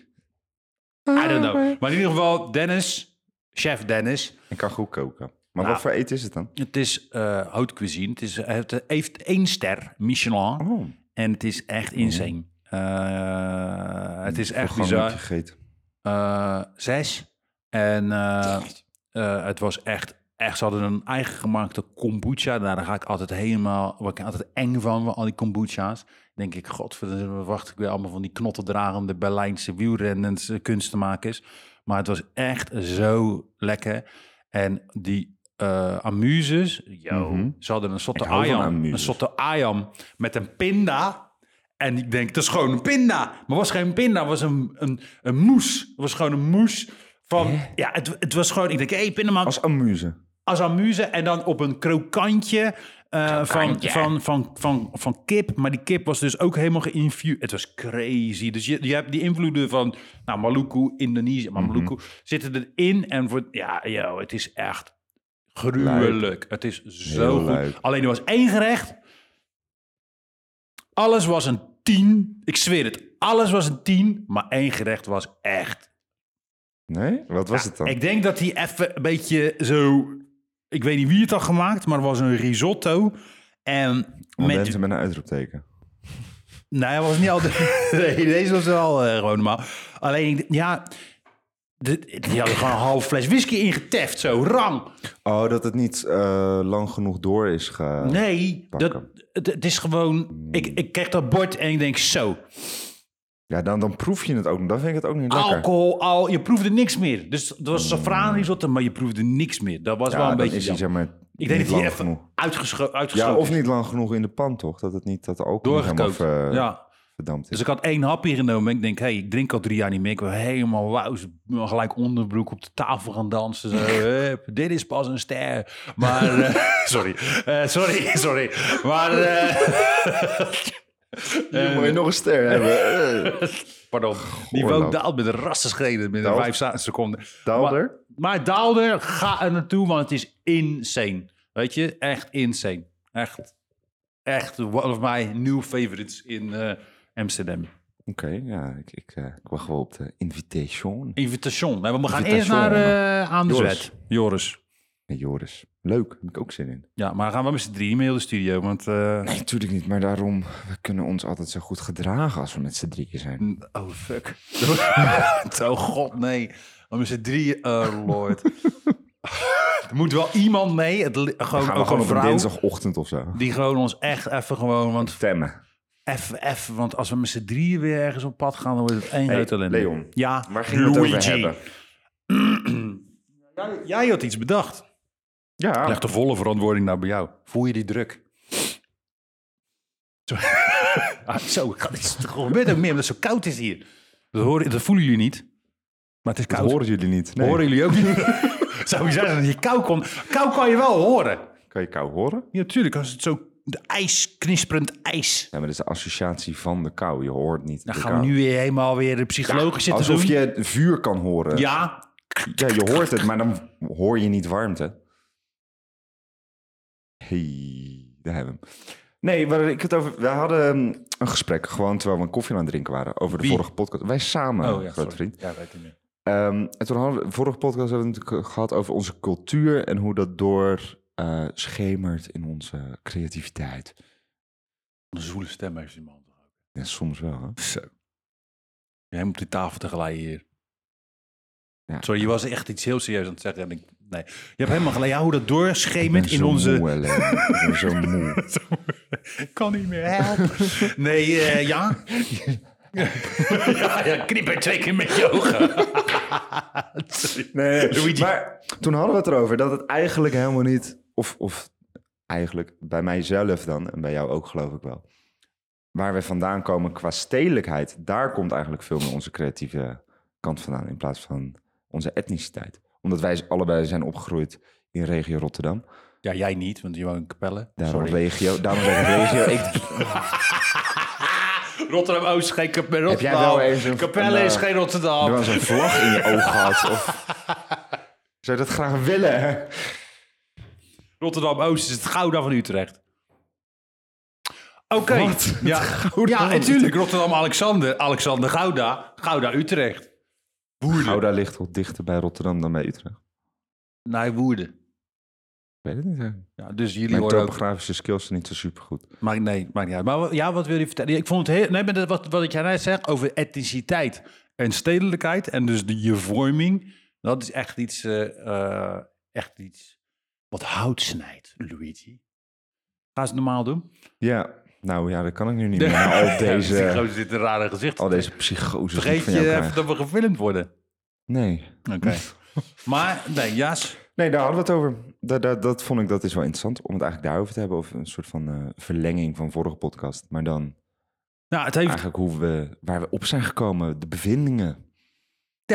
S1: don't know. Maar in ieder geval, Dennis, chef Dennis.
S2: Ik kan goed koken.
S1: Nou.
S2: Maar wat voor eten is het dan?
S1: Het is eh haute cuisine. Het, is, eh, het heeft één ster, Michelin.
S2: Oh, Mhm.
S1: En het is echt insane. Eh, het is echt
S2: gewoon
S1: bizar.
S2: niet gegeten.
S1: Eh, zes. En eh, eh, het was echt, echt... Ze hadden een eigen gemaakte kombucha. Nou, daar ga ik altijd helemaal... Word ik altijd eng van, van al die kombucha's. Denk ik, godverdomme, wacht ik weer allemaal van die knottendragende Berlijnse wielrenners eh, kunstenmakers. Maar het was echt zo lekker. En die eh amuses, yo,
S2: Mhm.
S1: ze hadden een soort
S2: Ik hou van
S1: ayam, een
S2: amuses.
S1: soort ayam met een pinda. En ik denk, dat is gewoon een pinda. Maar was geen pinda, was een, een, een moes. Het was gewoon een moes van, ja, het, het was gewoon, ik denk, hé, hey, pindaman,
S2: Als amuse.
S1: als amuse en dan op een krokantje, eh, van,
S2: Krokantje.
S1: van, van, van, van kip. Maar die kip was dus ook helemaal geïnfuseerd. Het was crazy. Dus je, je hebt die invloeden van nou, Maluku, Indonesië, maar
S2: Mhm.
S1: Maluku zitten erin. En voor, ja, yo, het is echt gruwelijk. Het is zo
S2: Heel
S1: goed.
S2: lijp.
S1: Alleen er was één gerecht. Alles was een tien. Ik zweer het. Alles was een tien, maar één gerecht was echt
S2: Nee? Wat was het dan?
S1: ik denk dat hij even een beetje zo. Ik weet niet wie het had gemaakt, maar het was een risotto. En
S2: Met...
S1: met.
S2: Mensen met een uitroepteken.
S1: Nou, hij was niet altijd. nee, deze was wel eh, gewoon normaal. Alleen, ik- ja. De, die hadden gewoon een half fles whisky ingeteft, zo rang.
S2: Oh, dat het niet eh, lang genoeg door is ge...
S1: Nee,
S2: pak
S1: dat,
S2: hem.
S1: het, het is gewoon. Ik, ik krijg dat bord en ik denk zo.
S2: Ja, dan, dan proef je het ook. Dan vind ik het ook
S1: Oh,
S2: niet lekker.
S1: Alcohol, al, je proefde niks meer. Dus het was safraan risotto, maar je proefde niks meer. Dat was
S2: Ja,
S1: wel een
S2: dan
S1: beetje.
S2: is hij,
S1: jammer.
S2: zeg maar,
S1: ik denk
S2: niet
S1: dat hij
S2: lang
S1: even
S2: genoeg.
S1: uitgescho-
S2: Ja,
S1: uitgeschoten
S2: of niet lang genoeg in de pan, toch? Dat het niet dat de alcohol niet helemaal
S1: doorgekookt.
S2: ver,
S1: Ja.
S2: verdampt is.
S1: Dus ik had één hapje genomen. Ik denk, hé, hey, ik drink al drie jaar niet meer. Ik wil helemaal wauw, gelijk onderbroek op de tafel gaan dansen. Zo, hup, dit is pas een ster. Maar, eh, sorry, Eh, sorry, sorry. Maar, eh, Dus
S2: Je moet je nog een ster hebben. Eh,
S1: pardon, niveau daalt met een rassenschreden binnen
S2: Daalt.
S1: vijf sa- seconden.
S2: Daalder?
S1: Maar, maar Daalder, ga er naartoe, want het is insane. Weet je, echt insane. Echt, echt one of my new favorites in eh, Amsterdam.
S2: Oké, ja, ik, ik, eh, ik wacht wel op de invitation.
S1: Invitation. Nee, maar we gaan eerst
S2: Invitation.
S1: naar eh, aan de
S2: Joris.
S1: zwet. Joris.
S2: Hey, Joris, leuk, daar heb ik ook zin in.
S1: Ja, maar gaan we met z'n drieën mee naar de studio? Want. eh,
S2: Nee, natuurlijk niet, maar daarom, we kunnen ons altijd zo goed gedragen als we met z'n drieën zijn.
S1: Oh, fuck. oh, god, nee. We met z'n drieën. Oh, lord. er moet wel iemand mee. Het, li-
S2: We
S1: gewoon
S2: gaan
S1: ook
S2: we gewoon
S1: een
S2: op een
S1: vrouw.
S2: dinsdagochtend of zo.
S1: Die gewoon ons echt even gewoon. Want,
S2: Temmen.
S1: even, even, want als we met z'n drieën weer ergens op pad gaan, dan wordt het één
S2: Hey,
S1: grote ellende.
S2: Leon,
S1: Ja,
S2: waar ging je het over
S1: Luigi.
S2: hebben?
S1: Jij, jij had iets bedacht.
S2: Ja,
S1: Leg de volle verantwoording naar bij jou. Voel je die druk? Zo, ah, zo ik ga- het gebeurt ook meer omdat het zo koud is hier. Dat, horen, dat voelen jullie niet. Maar het is
S2: dat
S1: koud.
S2: horen jullie niet. Nee.
S1: Horen jullie ook niet? Zou je zeggen dat je kou kon... Kou kan je wel horen.
S2: Kan je kou horen?
S1: Ja, natuurlijk. Als het zo... De ijs, knisperend ijs.
S2: Ja, maar dat is de associatie van de kou. Je hoort niet
S1: Dan
S2: de
S1: gaan
S2: kou.
S1: we nu weer helemaal weer de psychologische zitten
S2: Alsof
S1: doen.
S2: je vuur kan horen.
S1: Ja.
S2: Ja, je hoort het, maar dan hoor je niet warmte. Hey, daar hebben we hem. Nee, waar ik het over, we hadden ehm, een gesprek, gewoon terwijl we een koffie aan het drinken waren, over de
S1: Wie?
S2: vorige podcast. Wij samen,
S1: Oh ja,
S2: grote
S1: sorry.
S2: vriend.
S1: Ja, weet ik niet.
S2: Ehm, en toen hadden we, vorige podcast hebben we het natuurlijk gehad over onze cultuur en hoe dat door eh, schemert in onze creativiteit.
S1: Een zoele stem heeft die man toch ook.
S2: Ja, soms wel, hè?
S1: Zo. Jij moet die tafel tegelijk hier.
S2: Ja.
S1: Sorry, je was echt iets heel serieus aan het zeggen. En ik, nee. Je hebt helemaal gelijk. Ja, hoe dat
S2: Ik
S1: doorschemert
S2: ben
S1: in
S2: zo
S1: onze...
S2: Moe, Ellen. ik ben zo moe.
S1: Ik kan niet meer helpen. Nee, eh, ja. ja. Ja, knip er twee keer met je ogen. Sorry.
S2: Nee,
S1: Luigi.
S2: maar toen hadden we het erover dat het eigenlijk helemaal niet... Of, of eigenlijk bij mijzelf dan, en bij jou ook geloof ik wel... Waar we vandaan komen qua stedelijkheid... daar komt eigenlijk veel meer onze creatieve kant vandaan... in plaats van onze etniciteit. Omdat wij allebei zijn opgegroeid in regio Rotterdam.
S1: Ja, jij niet, want je woont in Capelle.
S2: Daarom
S1: Sorry.
S2: regio, daarom zeg ik regio. Ik,
S1: Rotterdam-Oost oh, is geen Capelle.
S2: Heb jij
S1: Rotterdam.
S2: wel eens een-
S1: Capelle
S2: een,
S1: is
S2: eh,
S1: geen Rotterdam.
S2: er was een vlag in je oog gehad. Of... Zou je dat graag willen?
S1: Rotterdam-Oost is het Gouda van Utrecht. Oké.
S2: Wat?
S1: Ja,
S2: Gouda
S1: ja
S2: van
S1: natuurlijk. Rotterdam-Alexander. Alexander-Gouda. Gouda-Utrecht. Woerden.
S2: Gouda ligt wel dichter bij Rotterdam dan bij Utrecht.
S1: Nee, Woerden.
S2: Ik weet het niet. hè.
S1: Ja, dus jullie
S2: Mijn
S1: horen ook
S2: topografische skills zijn niet zo super goed.
S1: Maakt, nee, maakt niet uit. Maar wa- ja, wat wil je vertellen? Ik vond het heel... Nee, maar dat- wat, wat ik jij net zegt over etniciteit en stedelijkheid... en dus de je vorming... dat is echt iets, eh, eh, echt iets wat hout snijdt, Luigi. Ga ze het normaal doen.
S2: Ja, nou ja, dat kan ik nu niet meer. na al
S1: Die
S2: deze,
S1: gozer zit een rare gezicht. te
S2: al deze psychose die ik
S1: Vergeet
S2: van jou
S1: je even
S2: krijg.
S1: dat we gefilmd worden.
S2: Nee.
S1: Oké. maar, nee, Jas.
S2: Nee, daar hadden we het over. Dat, dat, dat vond ik dat is wel interessant om het eigenlijk daarover te hebben. Of een soort van eh, verlenging van vorige podcast. Maar dan
S1: Nou, het heeft...
S2: eigenlijk hoe we, waar we op zijn gekomen. De bevindingen die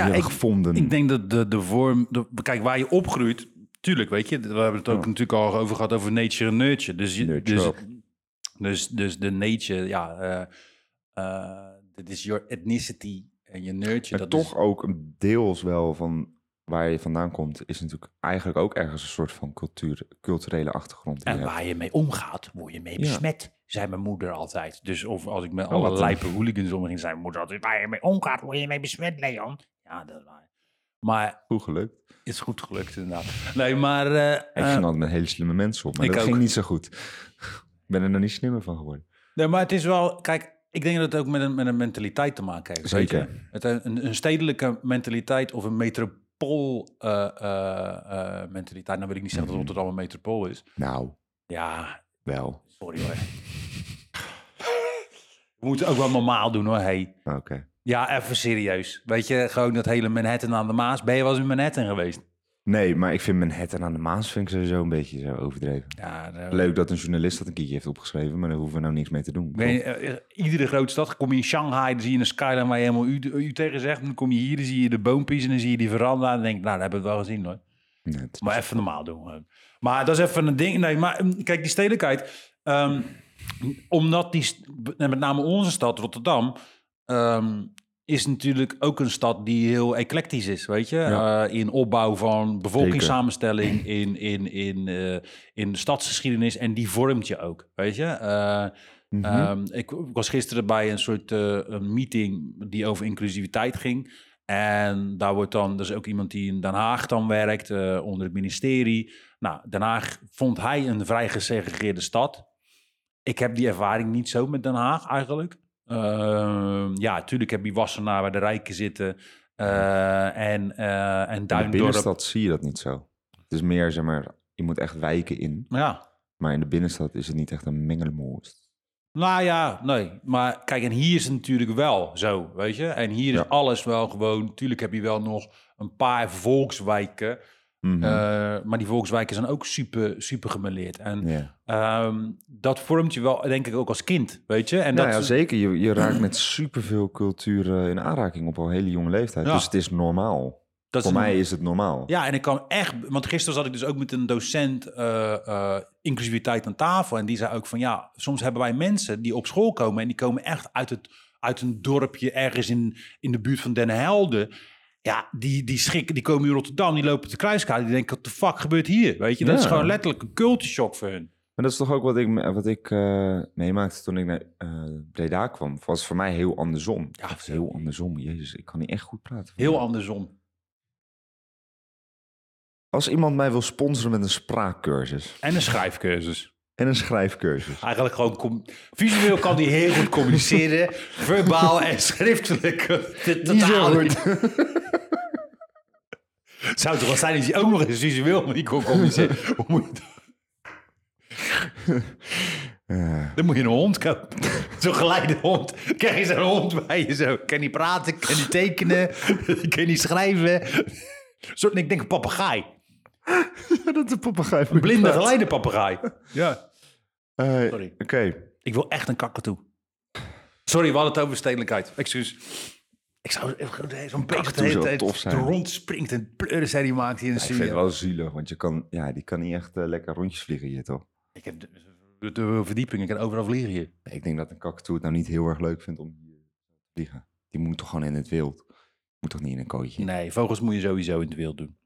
S1: ja,
S2: we
S1: ik,
S2: hebben gevonden.
S1: ik denk dat de, de vorm... de- kijk, waar je opgroeit... Tuurlijk, weet je. We hebben het ook
S2: Ja.
S1: natuurlijk al over gehad over nature en nurture. Dus, je-
S2: Nurture.
S1: dus, dus, dus de nature, ja... eh, eh, Dit is your ethnicity en je nurture.
S2: Maar
S1: Dat dus
S2: toch ook een deels wel van waar je vandaan komt, is natuurlijk eigenlijk ook ergens een soort van cultuur, culturele achtergrond. die
S1: En
S2: je hebt.
S1: waar je mee omgaat, word je mee
S2: Ja.
S1: besmet, zei mijn moeder altijd. Dus of als ik met
S2: wat
S1: alle
S2: dan?
S1: lijpe hooligans omging, zei mijn moeder altijd... waar je mee omgaat, word je mee besmet, Leon. Ja, dat is waar. Maar
S2: Goed gelukt.
S1: is goed gelukt inderdaad. Nee, maar... eh,
S2: Ik
S1: eh,
S2: ging altijd met hele slimme mensen op, maar
S1: ik
S2: dat
S1: ook.
S2: ging niet zo goed. Ik ben er nog niet slimmer van geworden.
S1: Nee, maar het is wel... Kijk, ik denk dat het ook met een, met een mentaliteit te maken heeft. Weet je?
S2: Zeker.
S1: Het, eh, een, een stedelijke mentaliteit of een metropool eh, eh, eh, mentaliteit. Nou wil ik niet zeggen dat Rotterdam een metropool is.
S2: Nou,
S1: Ja,
S2: wel.
S1: sorry hoor. We moeten ook wel normaal doen hoor, hey.
S2: Oké.
S1: Ja, even serieus. Weet je, gewoon dat hele Manhattan aan de Maas. Ben je wel eens in Manhattan geweest?
S2: Nee, maar ik vind Manhattan aan de Maas vind ik sowieso een beetje zo overdreven.
S1: Ja, daar-
S2: Leuk dat een journalist dat een keertje heeft opgeschreven, maar daar hoeven we nou niks mee te doen.
S1: Ik weet niet, eh, eh, iedere grote stad, kom je in Shanghai, dan zie je een skyline waar je helemaal u, u tegen zegt. Dan kom je hier, dan zie je de boompies en dan zie je die veranda. En dan denk ik, nou, dat hebben we het wel gezien hoor.
S2: Nee, het-
S1: Maar even normaal doen. gewoon. Maar dat is even een ding. Nee, maar mm, kijk, die stedelijkheid. ehm, omdat die, st- en met name onze stad, Rotterdam, ehm, is natuurlijk ook een stad die heel eclectisch is, weet je?
S2: Ja.
S1: Eh, in opbouw van bevolkingssamenstelling, in, in, in, eh, in stadsgeschiedenis. En die vormt je ook, weet je? Eh, ehm, ik, ik was gisteren bij een soort eh, een meeting die over inclusiviteit ging. En daar wordt dan, dus ook iemand die in Den Haag dan werkt, eh, onder het ministerie. Nou, Den Haag vond hij een vrij gesegregeerde stad. Ik heb die ervaring niet zo met Den Haag eigenlijk. Ehm, ja, tuurlijk heb je Wassenaar waar de rijken zitten. eh, en, eh en
S2: in de
S1: Duindorp.
S2: binnenstad zie je dat niet zo. Het is meer, zeg maar, je moet echt wijken in.
S1: Ja,
S2: Maar in de binnenstad is het niet echt een mengelmoest.
S1: Nou ja, nee. Maar kijk, en hier is het natuurlijk wel zo, weet je. En hier is
S2: Ja.
S1: alles wel gewoon... Tuurlijk heb je wel nog een paar volkswijken.
S2: Mhm.
S1: eh, maar die volkswijken zijn ook super, super gemêleerd. En
S2: Ja.
S1: ehm, dat vormt je wel, denk ik, ook als kind, weet je. En
S2: Nou
S1: dat,
S2: ja, zeker. Je, je raakt met superveel culturen in aanraking op al hele jonge leeftijd.
S1: Ja.
S2: Dus het is normaal.
S1: dat
S2: Voor mij is het normaal.
S1: Ja, en ik kwam echt... Want gisteren zat ik dus ook met een docent eh, eh, inclusiviteit aan tafel. En die zei ook van ja, soms hebben wij mensen die op school komen... en die komen echt uit, het, uit een dorpje ergens in, in de buurt van Den Helden. Ja, die, die schrikken, die komen in Rotterdam, die lopen te kruiskade. Die denken, wat de fuck gebeurt hier? Weet je, dat
S2: Ja.
S1: is gewoon letterlijk een culture shock voor hun.
S2: Maar dat is toch ook wat ik, me- wat ik eh, meemaakte toen ik naar eh, Breda kwam. Was voor mij heel andersom.
S1: Ja,
S2: Of heel andersom. Jezus, ik kan niet echt goed praten.
S1: Heel andersom.
S2: Als iemand mij wil sponsoren met een spraakcursus
S1: En een schrijfcursus.
S2: en een schrijfcursus.
S1: Eigenlijk gewoon... com- Visueel kan die heel goed communiceren. verbaal en schriftelijk. Dit
S2: Niet zo
S1: totaal
S2: goed.
S1: niet. Zou toch wel zijn dat je ook nog eens visueel niet kon communiceren? Hoe moet je dat- Dan moet je een hond kopen. Zo'n geleide hond. Krijg je zo'n hond bij je zo. Kan niet praten, kan niet tekenen, kan niet schrijven. Een Soort, ik denk een papegaai.
S2: dat is een papegaai.
S1: Een blinde geleide papegaai. Ja.
S2: Eh,
S1: Sorry.
S2: Oké.
S1: Ik wil echt een kakatoe. Sorry, we hadden het over stedelijkheid. Excuus. Ik zou zo'n beest de
S2: Kakatoe
S1: hele
S2: zou
S1: tijd
S2: tof zijn.
S1: rondspringt en pleurenserie maakt hier in de
S2: Ik vind het
S1: studio.
S2: wel zielig, want je kan, ja, die kan niet echt eh, lekker rondjes vliegen hier, toch?
S1: Ik heb de, de, de verdieping, ik kan overal vliegen hier.
S2: Nee, Ik denk dat een kakatoe het nou niet heel erg leuk vindt om hier te vliegen. Die moet toch gewoon in het wild? Moet toch niet in een kooitje?
S1: Nee, vogels moet je sowieso in het wild doen.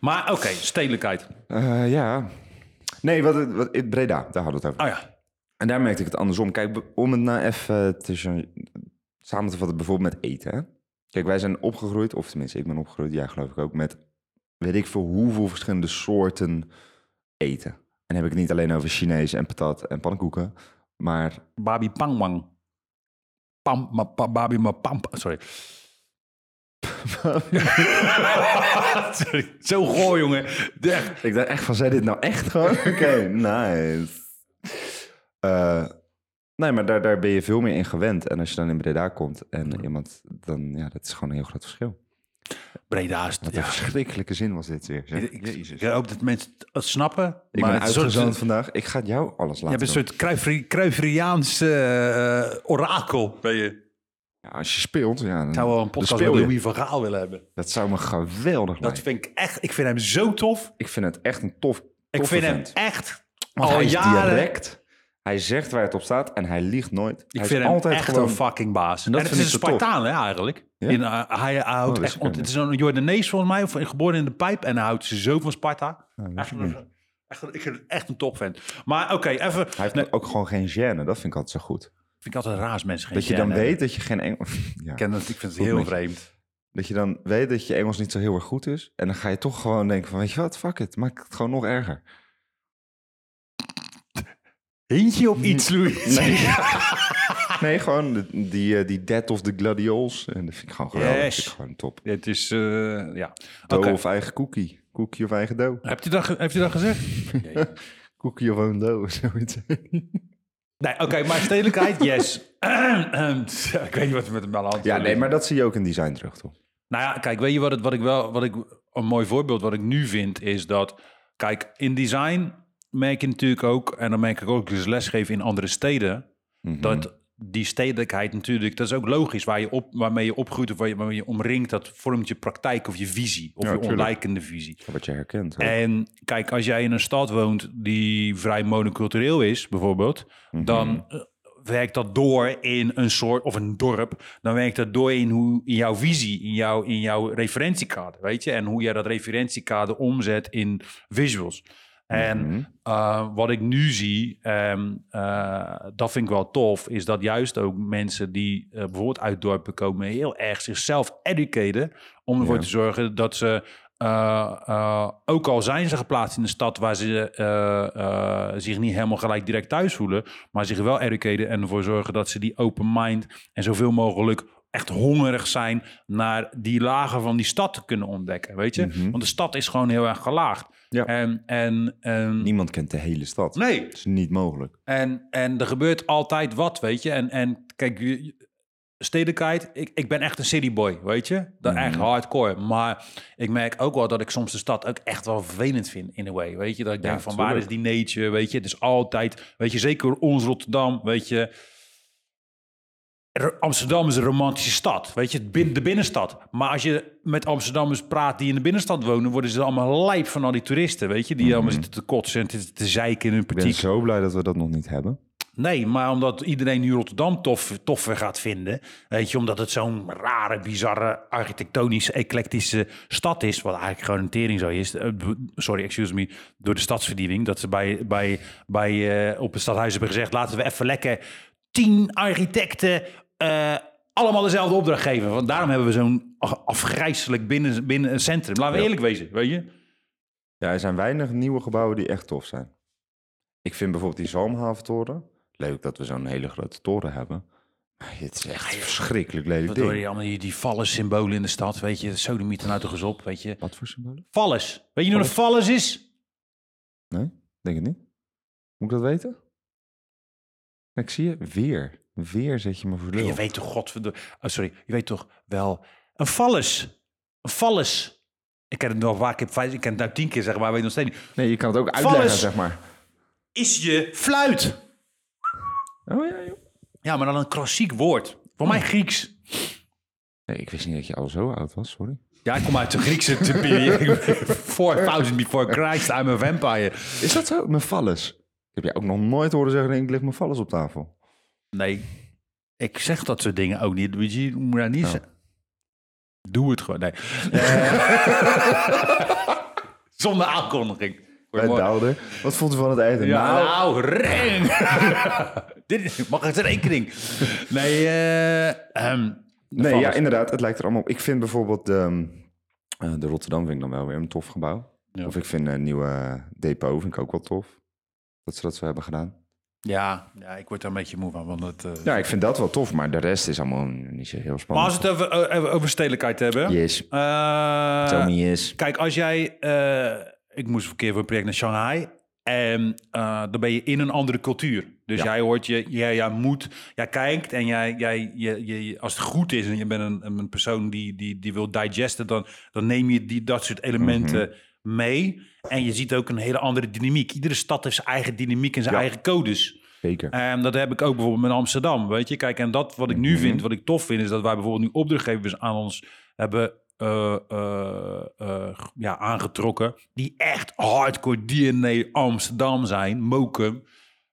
S1: Maar oké, stedelijkheid.
S2: Eh, ja. Nee, wat, het- wat, in Breda, daar hadden we het over.
S1: Oh ja.
S2: En daar merkte ik het andersom. Kijk, be- om het nou even te gen- samen te vatten, bijvoorbeeld met eten. Hè? Kijk, wij zijn opgegroeid, of tenminste, ik ben opgegroeid, jij geloof ik ook, met weet ik veel hoeveel verschillende soorten eten. En dan heb ik het niet alleen over Chinees en patat en pannenkoeken, maar
S1: Babi pangwang. Pam, ma, pa, babi ma pam. pa- Sorry. Sorry. Zo goor, jongen. De-
S2: Ik dacht echt van, zei dit nou echt gewoon? Oké, nice. Eh, nee, maar daar, daar ben je veel meer in gewend. En als je dan in Breda komt en iemand, dan ja, dat is gewoon een heel groot verschil.
S1: Breda is...
S2: Wat een verschrikkelijke zin was dit weer. zeg.
S1: Ik, ik, ik hoop dat mensen het eh, snappen.
S2: Ik
S1: maar
S2: ben
S1: het is een soort-
S2: uitgezoond vandaag. Ik ga jou alles
S1: Je
S2: laten
S1: hebt een
S2: doen.
S1: soort Cruyffri- Cruyffiaans eh, eh, orakel. Ben je.
S2: Ja, als je speelt, ja, dan,
S1: Ik zou wel een
S2: dan
S1: podcast met
S2: speel je.
S1: Louis van Gaal willen hebben.
S2: Dat zou me geweldig
S1: Dat
S2: lijken.
S1: vind ik echt... Ik vind hem zo tof.
S2: Ik vind het echt een tof
S1: Ik
S2: toffe
S1: vind hem
S2: vent.
S1: echt
S2: Want
S1: al
S2: hij is
S1: jaren...
S2: direct. Hij zegt waar het op staat en hij liegt nooit.
S1: Ik
S2: hij
S1: vind
S2: is
S1: hem
S2: altijd
S1: echt
S2: gewoon...
S1: een fucking baas. En,
S2: dat
S1: het
S2: vind
S1: is een
S2: ik zo tof.
S1: Spartaan, hè, eigenlijk.
S2: Ja?
S1: In, eh, hij, hij houdt
S2: dat
S1: echt,
S2: is
S1: want het is een Jordanees volgens mij, of eh, geboren in de pijp. En hij houdt zo van Sparta. echt,
S2: ik
S1: een- echt, een- ik vind het echt een topfan. Maar oké, even...
S2: Hij heeft
S1: Nee,
S2: ook gewoon geen gêne. Dat vind ik altijd zo goed.
S1: vind ik altijd raar als mensen geen
S2: Dat je
S1: zin
S2: dan
S1: hebben.
S2: weet dat je geen Engels... Ja.
S1: Ik, ken dat, ik vind het
S2: Goed
S1: heel
S2: met je.
S1: vreemd.
S2: Dat je dan weet dat je Engels niet zo heel erg goed is. En dan ga je toch gewoon denken van... Weet je wat, fuck it. Maak het gewoon nog erger.
S1: Hintje op iets, Louis.
S2: Nee,
S1: Ah.
S2: nee gewoon de- die, eh, die Dead of the Gladiols. En dat vind ik gewoon geweldig. Dat
S1: Yes.
S2: vind ik gewoon top.
S1: Het is, eh, ja.
S2: Doe
S1: Oké.
S2: of eigen cookie. Cookie of eigen dough.
S1: Hebt u dat, ge- heeft u dat gezegd?
S2: Cookie of own dough, zoiets.
S1: Nee, oké, maar stedelijkheid, yes. ik weet niet wat er met hem aan de hand
S2: Ja,
S1: is.
S2: nee, maar dat zie je ook in design terug, toch?
S1: Nou ja, kijk, weet je wat, het, wat ik wel, wat ik een mooi voorbeeld wat ik nu vind is dat, kijk, in design merk je natuurlijk ook, en dan merk ik ook als lesgeven in andere steden,
S2: Mhm.
S1: dat die stedelijkheid natuurlijk, dat is ook logisch, waar je op, waarmee je opgroeit of waar je, waarmee je omringt, dat vormt je praktijk of je visie of
S2: Ja,
S1: je
S2: tuurlijk.
S1: ontwijkende visie.
S2: Wat je herkent. hoor.
S1: En kijk, als jij in een stad woont die vrij monocultureel is, bijvoorbeeld, dan eh, werkt dat door in een soort, of een dorp, dan werkt dat door in, hoe, in jouw visie, in jouw, in jouw referentiekader, weet je? En hoe jij dat referentiekader omzet in visuals. En eh, wat ik nu zie, ehm, eh, dat vind ik wel tof, is dat juist ook mensen die eh, bijvoorbeeld uit dorpen komen, heel erg zichzelf educaten om ervoor te zorgen dat ze, eh, eh, ook al zijn ze geplaatst in een stad waar ze eh, eh, zich niet helemaal gelijk direct thuis voelen, maar zich wel educaten en ervoor zorgen dat ze die open mind en zoveel mogelijk echt hongerig zijn naar die lagen van die stad te kunnen ontdekken, weet je? Want de stad is gewoon heel erg gelaagd.
S2: Ja.
S1: En, en, en,
S2: Niemand kent de hele stad.
S1: nee,
S2: Dat is niet mogelijk.
S1: en, en er gebeurt altijd wat, weet je. En, en kijk, je- je- stedelijkheid, ik, ik ben echt een cityboy, weet je.
S2: Mhm.
S1: Dat echt hardcore. Maar ik merk ook wel dat ik soms de stad ook echt wel vervelend vind, in a way. Weet je, dat ik denk van, waar is
S2: tuurlijk.
S1: die nature, weet je. Het is altijd, weet je, zeker ons Rotterdam, weet je. R- Amsterdam is een romantische stad, weet je, het bin- de binnenstad. Maar als je met Amsterdammers praat die in de binnenstad wonen, worden ze allemaal lijp van al die toeristen, weet je, die allemaal zitten te kotsen en te, te zeiken in hun
S2: Mhm. Ik ben
S1: partiek.
S2: zo blij dat we dat nog niet hebben.
S1: Nee, maar omdat iedereen nu Rotterdam tof, toffer gaat vinden. Weet je, omdat het zo'n rare, bizarre, architectonisch, eclectische stad is. Wat eigenlijk gewoon een tering zo is. Eh, b- Sorry, excuse me. Door de stadsverdieping. Dat ze bij, bij, bij, eh, op het stadhuis hebben gezegd... laten we even lekker tien architecten... eh, allemaal dezelfde opdracht geven. Want daarom hebben we zo'n af- afgrijselijk binnen, binnen een centrum. Laten we eerlijk wezen, weet je?
S2: Ja, er zijn weinig nieuwe gebouwen die echt tof zijn. Ik vind bijvoorbeeld die Zalmhaventoren. Leuk dat we zo'n hele grote toren hebben. Maar het is echt een verschrikkelijk lelijk
S1: Wat hoor
S2: ding.
S1: je allemaal die, die valles symbolen in de stad, weet je. Sodomieten uit de gezop, weet je.
S2: Wat voor symbolen?
S1: Valles. Weet je wat een valles is?
S2: Denk het niet. Moet ik dat weten? Kijk, zie je? Weer. Weer zet je me voor de
S1: Ja,
S2: lul.
S1: je weet toch, godverdomme. Oh, sorry, je weet toch wel. Een valles. Een valles. Ik ken het nog waar, ik heb vijf, ik ken het nou tien keer zeg maar, ik weet nog steeds niet.
S2: Nee, je kan het ook uitleggen,
S1: Valles.
S2: zeg maar.
S1: Is je fluit?
S2: Oh ja, joh.
S1: Ja, maar dan een klassiek woord. Voor mij Grieks.
S2: Nee, ik wist niet dat je al zo oud was, sorry.
S1: Ja, ik kom uit de Griekse te- periode. 4000 before Christ, I'm a vampire.
S2: Is dat zo? Mijn vallus. Ik heb je ook nog nooit horen zeggen, ik leg mijn vallus op tafel.
S1: Nee, ik zeg dat soort dingen ook niet. Luigi, Je moet dat niet zeggen. Doe het gewoon. Nee. Eh, Zonder aankondiging.
S2: Bij
S1: nou,
S2: Douder. Wat vond u van het eten?
S1: Ja,
S2: Nou,
S1: nou, ring. Dit is- mag het rekening. Nee, eh ehm,
S2: Nee,
S1: vallers.
S2: ja, inderdaad. Het lijkt er allemaal op. Ik vind bijvoorbeeld de, eh, de Rotterdam vind ik dan wel weer een tof gebouw.
S1: Ja.
S2: Of ik vind een nieuwe depot vind ik ook wel tof. Dat ze dat zo hebben gedaan.
S1: ja, ja, ik word daar een beetje moe van. Want het, eh,
S2: Ja, ik vind dat wel tof, maar de rest is allemaal niet zo heel
S1: Maar
S2: spannend.
S1: als we het over, over, over stedelijkheid hebben.
S2: Yes,
S1: eh,
S2: tell me yes.
S1: Kijk, als jij... eh, ik moest een keer voor een project naar Shanghai. En eh, dan ben je in een andere cultuur. Dus
S2: Ja.
S1: jij hoort je, jij, jij moet, jij kijkt en jij, jij, je, je, als het goed is en je bent een, een persoon die, die, die wil digesten, dan, dan neem je die, dat soort elementen
S2: Mhm.
S1: mee. En je ziet ook een hele andere dynamiek. Iedere stad heeft zijn eigen dynamiek en zijn
S2: Ja.
S1: eigen codes.
S2: Zeker.
S1: En Ehm, dat heb ik ook bijvoorbeeld met Amsterdam, weet je. Kijk, en dat wat ik nu vind, wat ik tof vind, is dat wij bijvoorbeeld nu opdrachtgevers aan ons hebben eh, eh, eh, g- ja, aangetrokken. Die echt hardcore DNA Amsterdam zijn, mokum.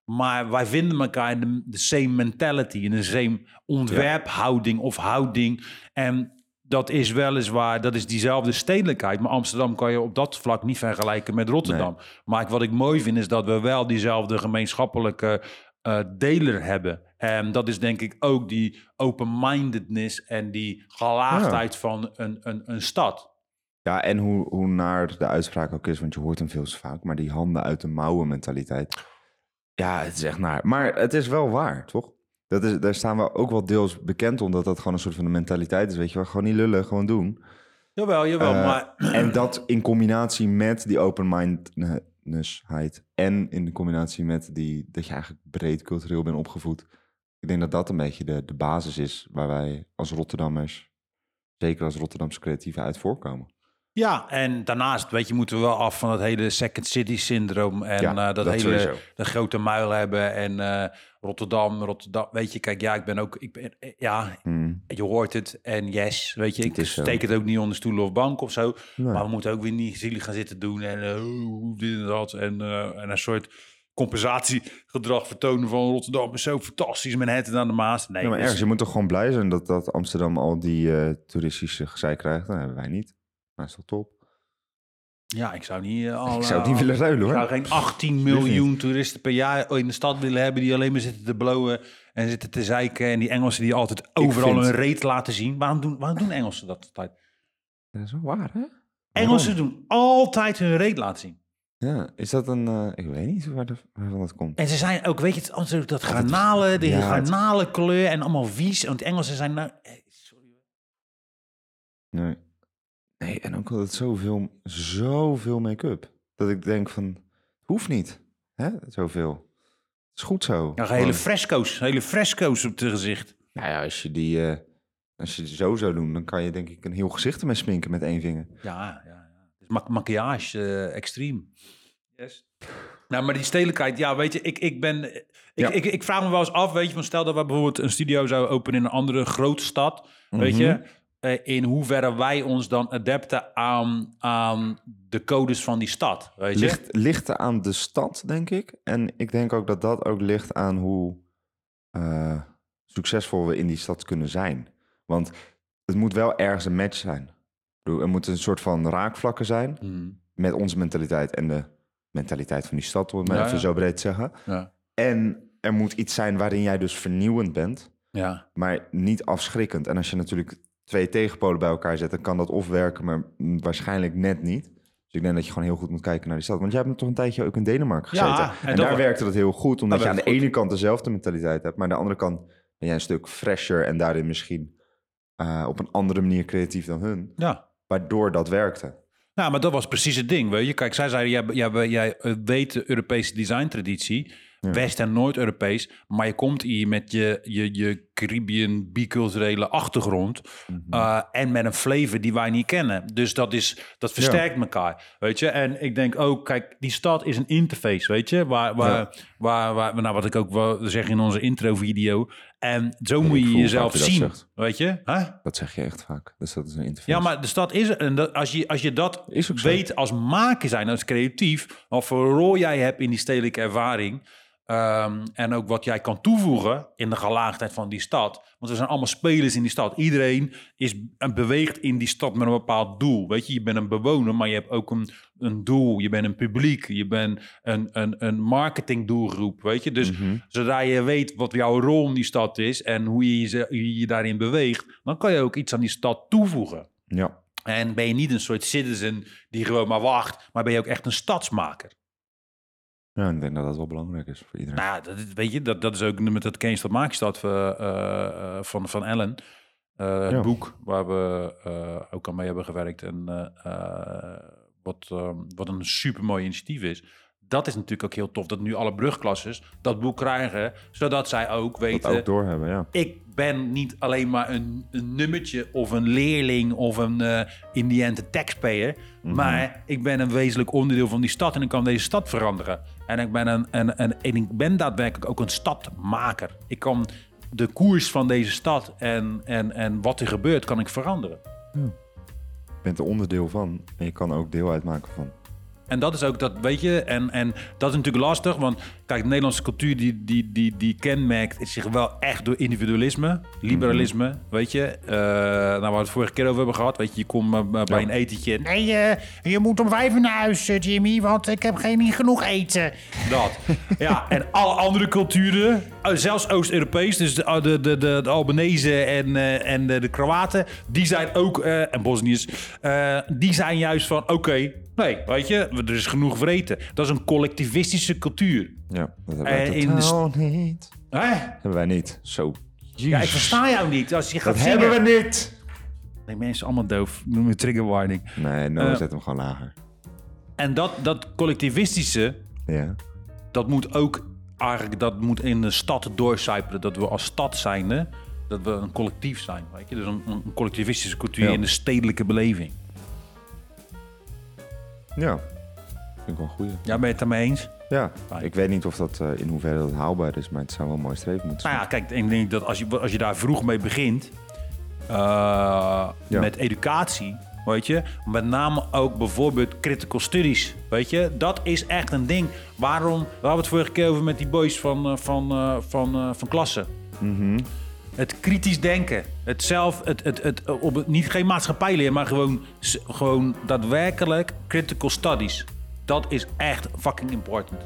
S1: Maar wij vinden elkaar in de, de same mentality, in de same ontwerphouding of houding. En dat is weliswaar, dat is diezelfde stedelijkheid. Maar Amsterdam kan je op dat vlak niet vergelijken met Rotterdam. Maar ik- wat ik mooi vind, is dat we wel diezelfde gemeenschappelijke eh, deler hebben. En dat is denk ik ook die open-mindedness en die gelaagdheid van een, een, een stad.
S2: Ja, en hoe, hoe naar de uitspraak ook is, want je hoort hem veel te vaak, maar die handen uit de mouwen mentaliteit. Ja, het is echt naar. Maar het is wel waar, toch? Dat is, daar staan we ook wel deels bekend om, dat dat gewoon een soort van de mentaliteit is. Weet je wel, gewoon niet lullen, gewoon doen.
S1: Jawel, jawel.
S2: Eh,
S1: Oh, maar
S2: En dat in combinatie met die open-mindednessheid. En in de combinatie met die, dat je eigenlijk breed cultureel bent opgevoed. Ik denk dat dat een beetje de, de basis is waar wij als Rotterdammers, zeker als Rotterdamse creatieven, uit voorkomen.
S1: ja, en daarnaast, weet je, moeten we wel af van dat hele second city syndroom. En
S2: Ja,
S1: eh, dat,
S2: dat
S1: hele
S2: sowieso.
S1: de grote muil hebben. En eh, Rotterdam, Rotterdam. Weet je, kijk, ja, ik ben ook. Ik ben, eh, ja,
S2: Hmm.
S1: je hoort het en yes, weet je, ik
S2: Het is zo.
S1: steek het ook niet onder stoelen of bank of zo.
S2: Nee.
S1: Maar we moeten ook weer niet zielig gaan zitten doen en eh, oeh, dit en dat. En, eh, en een soort compensatiegedrag vertonen van Rotterdam is zo fantastisch, Manhattan aan de Maas. Nee, dus
S2: Ja, maar
S1: dat is-
S2: ergens, je moet toch gewoon blij zijn dat, dat Amsterdam al die eh, toeristische gezeik krijgt. Nou, Dat hebben wij niet. Maar is toch top?
S1: ja, ik zou niet... eh,
S2: Ik
S1: alle-
S2: zou het niet willen ruilen
S1: Ik
S2: hoor.
S1: zou geen 18 miljoen toeristen per jaar in de stad willen hebben... die alleen maar zitten te blowen en zitten te zeiken. En die Engelsen die altijd overal
S2: vind-
S1: hun reet laten zien. Waarom doen, waarom doen Engelsen dat altijd?
S2: Dat is wel waar hè?
S1: Engelsen doen altijd hun reet laten zien.
S2: Ja, is dat een... eh, ik weet niet waar de, waarvan dat komt.
S1: En ze zijn ook, weet je, het is ook dat granalen, de
S2: ja, het-
S1: granalenkleur en allemaal vies. Want de Engelsen zijn nou... eh, sorry.
S2: Nee. Nee, en ook altijd zoveel, zoveel make-up. Dat ik denk van, het hoeft niet. Hè? Zoveel. Het is goed zo.
S1: Ja,
S2: Gewoon.
S1: hele fresco's, hele fresco's op het gezicht.
S2: Nou ja, als je die... eh, als je die zo zou doen, dan kan je denk ik een heel gezicht ermee sminken met één vinger.
S1: Ja, ja. ja. Het is mak- maquillage, eh, extreem. Yes. Nou, maar die stedelijkheid, ja, weet je, ik, ik ben... Ik,
S2: Ja.
S1: ik, ik vraag me wel eens af, weet je, van stel dat we bijvoorbeeld een studio zouden openen in een andere grote stad, weet je...
S2: Mhm.
S1: eh, in hoeverre wij ons dan adapten aan, aan de codes van die stad, weet je?
S2: Ligt, ligt aan de stad, denk ik. En ik denk ook dat dat ook ligt aan hoe eh, succesvol we in die stad kunnen zijn. Want het moet wel ergens een match zijn. Ik bedoel, Er moeten een soort van raakvlakken zijn.
S1: Hmm.
S2: met onze mentaliteit en de mentaliteit van die stad, om het maar
S1: Ja,
S2: even
S1: ja.
S2: zo breed te zeggen.
S1: Ja.
S2: En er moet iets zijn waarin jij dus vernieuwend bent,
S1: ja.
S2: maar niet afschrikkend. En als je natuurlijk twee tegenpolen bij elkaar zet, dan kan dat of werken, maar waarschijnlijk net niet. Dus ik denk dat je gewoon heel goed moet kijken naar die stad. Want jij hebt toch een tijdje ook in Denemarken
S1: Ja,
S2: gezeten.
S1: en
S2: en
S1: dat-
S2: daar werkte dat heel goed. Omdat
S1: Dat
S2: je aan de
S1: werkt goed.
S2: ene kant dezelfde mentaliteit hebt. Maar aan de andere kant ben jij een stuk fresher. En daarin misschien eh, op een andere manier creatief dan hun.
S1: Ja.
S2: Waardoor dat werkte.
S1: Nou, maar dat was precies het ding. Weet je? Kijk, zij zeiden, jij, jij, jij eh, weet de Europese designtraditie, West- en Noord-Europees, maar je komt hier met je, je, je Caribbean biculturele achtergrond
S2: Mhm.
S1: eh, en met een flavor die wij niet kennen. Dus dat, is, dat versterkt elkaar, weet je. En ik denk ook, kijk, die stad is een interface, weet je, waar, waar,
S2: Ja.
S1: waar, waar nou, wat ik ook wel zeg in onze intro-video. En zo moet
S2: ik
S1: je
S2: voel
S1: jezelf
S2: vaak dat je
S1: zien,
S2: dat zegt.
S1: weet je. Huh?
S2: Dat zeg je echt vaak. Dus dat is een interview.
S1: Ja, maar de stad is er. En dat, als, je, als je dat
S2: Is ook zo.
S1: weet als maker zijn, als creatief... wat voor rol jij hebt in die stedelijke ervaring... ehm, en ook wat jij kan toevoegen in de gelaagdheid van die stad. Want we zijn allemaal spelers in die stad. Iedereen is, en beweegt in die stad met een bepaald doel. Weet je, je bent een bewoner, maar je hebt ook een, een doel. Je bent een publiek, je bent een, een, een marketingdoelgroep, weet je. Dus
S2: Mhm.
S1: zodra je weet wat jouw rol in die stad is... en hoe je je, je je daarin beweegt... dan kan je ook iets aan die stad toevoegen.
S2: Ja.
S1: En ben je niet een soort citizen die gewoon maar wacht, maar ben je ook echt een stadsmaker.
S2: ja, ik denk dat dat wel belangrijk is voor iedereen.
S1: Nou, ja, dat, is- weet je, dat, dat is ook met dat Keens dat Maakstad eh, eh, eh, van, van Ellen. Eh, het
S2: Ja.
S1: boek waar we eh, ook aan mee hebben gewerkt. En eh, eh, wat, ehm, wat een supermooi initiatief is. Dat is natuurlijk ook heel tof dat nu alle brugklassers dat boek krijgen. Zodat zij ook
S2: dat
S1: weten,
S2: ook doorhebben, ja.
S1: ik ben niet alleen maar een, een nummertje of een leerling of een eh in the end een taxpayer. Maar ik ben een wezenlijk onderdeel van die stad en ik kan deze stad veranderen. En ik ben, een, een, een, en ik ben daadwerkelijk ook een stadmaker. Ik kan de koers van deze stad en, en, en wat er gebeurt, kan ik veranderen.
S2: Je bent er onderdeel van. En je kan ook deel uitmaken van.
S1: En dat is ook dat, weet je, en, en dat is natuurlijk lastig. Want kijk, de Nederlandse cultuur die, die, die, die kenmerkt zich wel echt door individualisme, liberalisme, weet je. Eh nou, waar we het vorige keer over hebben gehad, weet je, je komt eh, bij een etentje. Nee, eh, je moet om vijf uur naar huis, eh, Jimmy, want ik heb geen, niet genoeg eten. Dat. ja, en alle andere culturen, eh, zelfs Oost-Europees, dus de, de, de, de, de Albanese en, eh, en de, de Kroaten, die zijn ook, eh, en Bosniërs, eh, die zijn juist van, oké, nee, weet je, er is genoeg vreten. Dat is een collectivistische cultuur.
S2: Ja, dat hebben
S1: Eh,
S2: wij
S1: in de
S2: totaal niet.
S1: Hè?
S2: Hebben wij niet. Zo.
S1: Ja, ik versta jou niet. Als je gaat
S2: Dat hebben
S1: zingen.
S2: we niet.
S1: Nee, mensen allemaal doof. Noem me trigger warning.
S2: Nee, nou
S1: Eh.
S2: zet hem gewoon lager.
S1: En dat, dat collectivistische,
S2: Ja.
S1: dat moet ook eigenlijk dat moet in de stad doorcijpelen. Dat we als stad zijnde, dat we een collectief zijn. Weet je? Dus een, een collectivistische cultuur
S2: Ja.
S1: in de stedelijke beleving.
S2: Ja. Vind ik wel een goeie.
S1: Ja, ben je het daarmee eens?
S2: Ja.
S1: Fijn.
S2: Ik weet niet of dat eh, in hoeverre dat haalbaar is, maar het zou wel een mooi streven moeten
S1: Nou
S2: zijn.
S1: ja, kijk, ik denk dat als je, als je daar vroeg mee begint, eh,
S2: Ja.
S1: met educatie, weet je, met name ook bijvoorbeeld critical studies, weet je, dat is echt een ding. Waarom, we hadden het vorige keer over met die boys van, eh, van, eh, van, eh, van klassen. Het kritisch denken. Het zelf, het, het, het, op het, niet geen maatschappijleer, maar gewoon, s- gewoon daadwerkelijk critical studies. Dat is echt fucking important.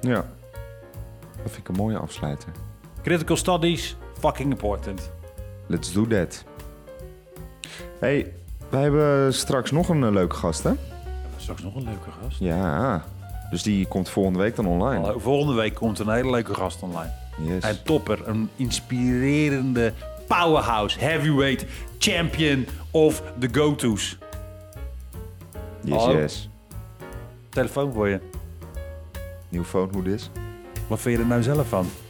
S2: Ja. Dat vind ik een mooie afsluiter.
S1: Critical studies, fucking important.
S2: Let's do that. hey, wij hebben straks nog een eh, leuke gast, hè?
S1: Straks nog een leuke gast.
S2: Ja. Dus die komt volgende week dan online.
S1: Hallo, Volgende week komt een hele leuke gast online.
S2: Yes.
S1: Een topper, een inspirerende powerhouse, heavyweight champion of the go-to's.
S2: Yes,
S1: Hallo.
S2: yes.
S1: Telefoon voor je.
S2: Nieuw phone, hoe dit is.
S1: Wat vind je er nou zelf van?